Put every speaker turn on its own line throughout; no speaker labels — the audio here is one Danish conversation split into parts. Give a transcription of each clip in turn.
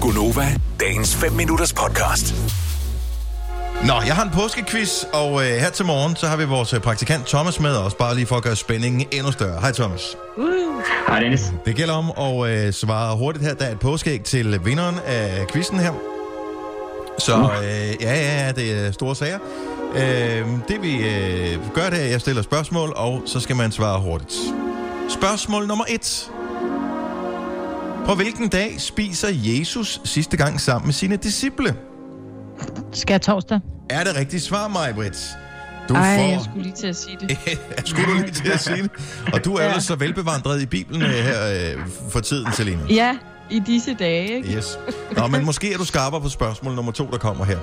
Gunova, dagens 5 minutters podcast.
Nå, jeg har en påskequiz, og øh, her til morgen, så har vi vores øh, praktikant Thomas med os, bare lige for at gøre spændingen endnu større. Hej Thomas.
Hej Dennis.
Det gælder om at øh, svare hurtigt her. Der er et påskeæg til vinderen af quizzen her. Så
Mm.
øh, ja, ja, ja, det er store sager. Øh, det vi øh, gør, det er, at jeg stiller spørgsmål, og så skal man svare hurtigt. Spørgsmål nummer et. På hvilken dag spiser Jesus sidste gang sammen med sine disciple?
Skal jeg torsdag?
Er det rigtigt svar, Majbrit? Du
Ej,
får...
jeg skulle lige til at sige det.
Ja, skulle du lige til at sige det. Og du er jo
Ja.
så velbevandret i Bibelen øh, her øh, for tiden, Selina.
Ja, i disse dage, ikke?
Yes. Nå, men måske er du skarpere på spørgsmål nummer to, der kommer her.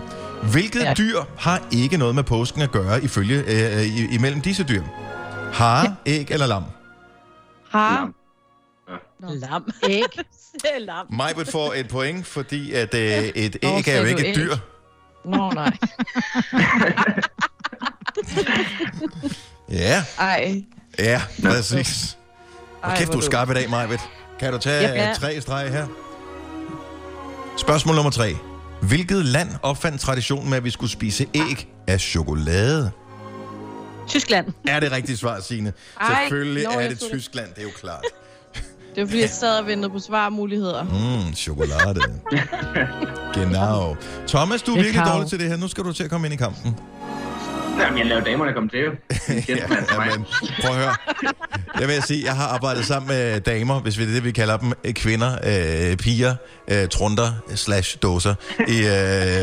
Hvilket
Ja.
dyr har ikke noget med påsken at gøre ifølge, øh, i, imellem disse dyr? Hare, æg eller lam?
Har
Lam.
lam. Æg. lam.
Majbrit får et point, fordi at, øh, et
Nå,
æg er jo
sagde
ikke
du
et
æg.
dyr.
Nå, nej.
Ja,
Ej.
ja, præcis.
Ej,
Og kæft, du er skarp i dag, Majbrit. Kan du tage
Ja.
ja. tre streger her? Spørgsmål nummer tre. Hvilket land opfandt traditionen med, at vi skulle spise æg af chokolade?
Tyskland.
Er det rigtige svar, Signe?
Ej,
Selvfølgelig
nå,
er
jeg
det
troede-
Tyskland, det er jo klart.
Det var fordi, jeg sad og ventede på svarmuligheder.
Mm, chokolade. genau. Thomas, du er virkelig
Kakao.
dårlig til det her. Nu skal du til at komme ind i kampen.
Jamen, jeg laver damerne komme til, jo.
Ja, men prøv at høre. Jeg vil sige, jeg har arbejdet sammen med damer, hvis vi det er det, vi kalder dem, øh, kvinder, øh, piger, øh, trunder, slash dåser, i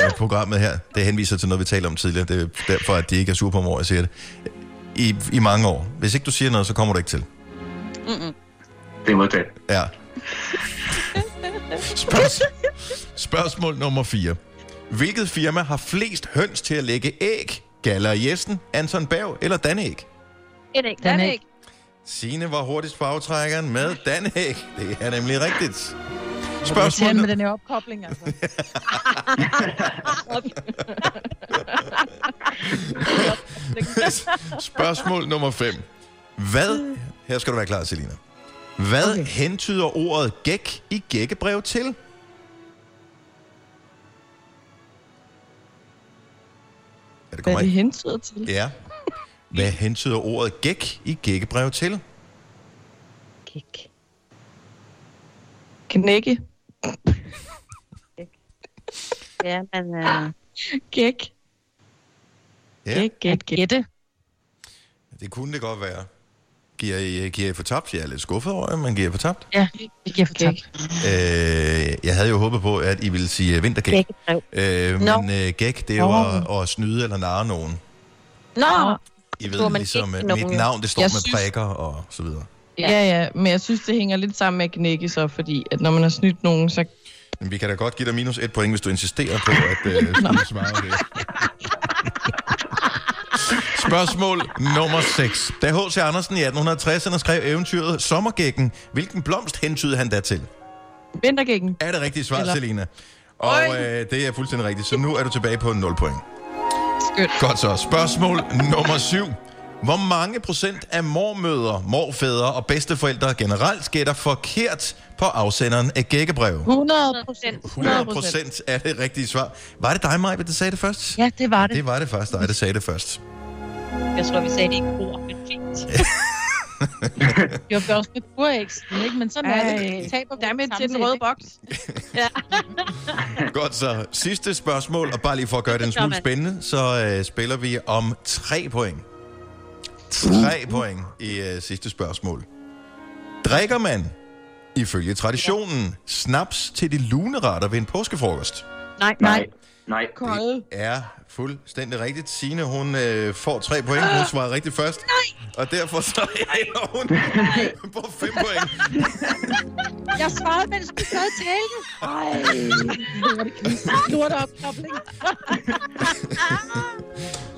øh, programmet her. Det henviser til noget, vi talte om tidligere. Det er derfor, at de ikke er sure på mig, over, at jeg siger det. I, I mange år. Hvis ikke du siger noget, så kommer du ikke til.
Det er modtaget.
Ja. Spørgs- spørgsmål nummer 4. Hvilket firma har flest høns til at lægge æg? Galler og Jessen, Anton Berg eller Danæg?
Et æg.
Den er ikke.
Signe var hurtigst på aftrækkeren med Danæg. Det er nemlig rigtigt.
Jeg
Spørgsmål,
tænder med
nu-
den her opkobling, altså.
spørgsmål nummer 5. Hvad, her skal du være klar, Selina. Hvad okay. hentyder ordet gæk i gækkebrev til? Ja, det
Hvad
kommer
er
ikke.
det hentyder til?
Ja. Hvad hentyder ordet gæk i gækkebrev til?
Kik.
Knække.
Ja, men...
Ah.
Øh,
Gæk.
Ja,
Gæk, gæk, gæk. Gætte.
det kunne det godt være. Giver I, giver I fortabt? Jeg er lidt skuffet over, at man giver fortabt.
Ja, det giver for tak.
Øh, jeg havde jo håbet på, at I ville sige øh, vintergæk.
Gækkebrev.
Øh,
Nå.
men øh, gæk, det er jo at, at snyde eller narre nogen.
Nå!
I
Hvor
ved
man
ligesom,
gækker
at
nogen,
mit
jo.
navn, det står
Jeg
med
synes-
prikker og så videre.
Ja, ja, men jeg synes, det hænger lidt sammen med at knække så, fordi at når man har snydt nogen, så...
Men vi kan da godt give dig minus et point, hvis du insisterer på, at øh, skulle svare det. Spørgsmål nummer 6. Da H.C. Andersen i 1860'erne skrev eventyret Sommergækken, hvilken blomst hentydede han da til?
Vintergækken.
Er det rigtigt svar,
Eller-
Selina? Og øh, det er fuldstændig rigtigt, så nu er du tilbage på 0 point.
Skønt.
Godt så. Spørgsmål nummer 7. Hvor mange procent af mormødre, morfædre og bedsteforældre generelt gætter forkert på afsenderen af gækkebrev?
100 procent.
100 procent er det rigtige svar. Var det dig, Maja, der sagde det først?
Ja, det var det.
Det var det først dig, der sagde det først.
Jeg tror, vi sagde det ikke ord, men fint.
Jeg blev også med burægsen, ikke? Men sådan
er det. Vi
Taber
på
Dermed
samme
til den
sæt,
røde
ikke?
boks.
Godt så. Sidste spørgsmål, og bare lige for at gøre det en
gør
smule
man.
spændende, så øh, spiller vi om tre point. Tre point i øh, sidste spørgsmål. Drikker man, ifølge traditionen, snaps til de luneretter ved en påskefrokost?
Nej, nej.
Nej. Nej.
Kolde.
er fuldstændig rigtigt. Signe, hun øh, får tre point. Hun svarede rigtigt først. Nej. Og derfor så ender hun på fem point.
Jeg svarede, mens du sad og talte. Ej, lort opkobling.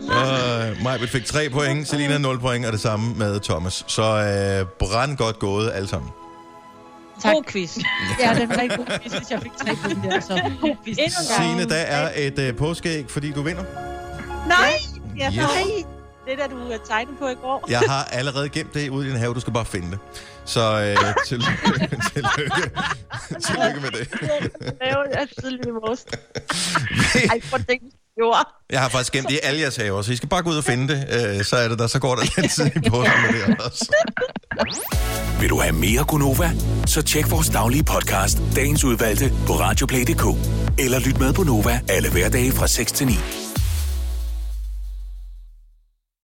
Øh, Majbet fik tre point, Selina 0 point, og det samme med Thomas. Så øh, brand godt gået alle sammen.
Tak. God quiz. Ja, det var rigtig god quiz, hvis jeg fik tre point der. Så. God quiz.
Signe, der er et øh, påskeæg, fordi du vinder.
Nej!
Yes.
Nej!
det der,
øh,
du tegnede på i går.
Jeg har allerede gemt det ude i din have, du skal bare finde det. Så øh, tillykke, tillykke, tillykke med det.
Det er tidligt i morges. Ej, prøv at tænke, jord.
Jeg har faktisk gemt det i alle jeres haver, så I skal bare gå ud og finde det, øh, så er det der, så går der lidt tid i påsken med det også.
Vil du have mere Gunova? Så tjek vores daglige podcast, dagens udvalgte, på radioplay.dk. Eller lyt med på Nova alle hverdage fra 6 til 9.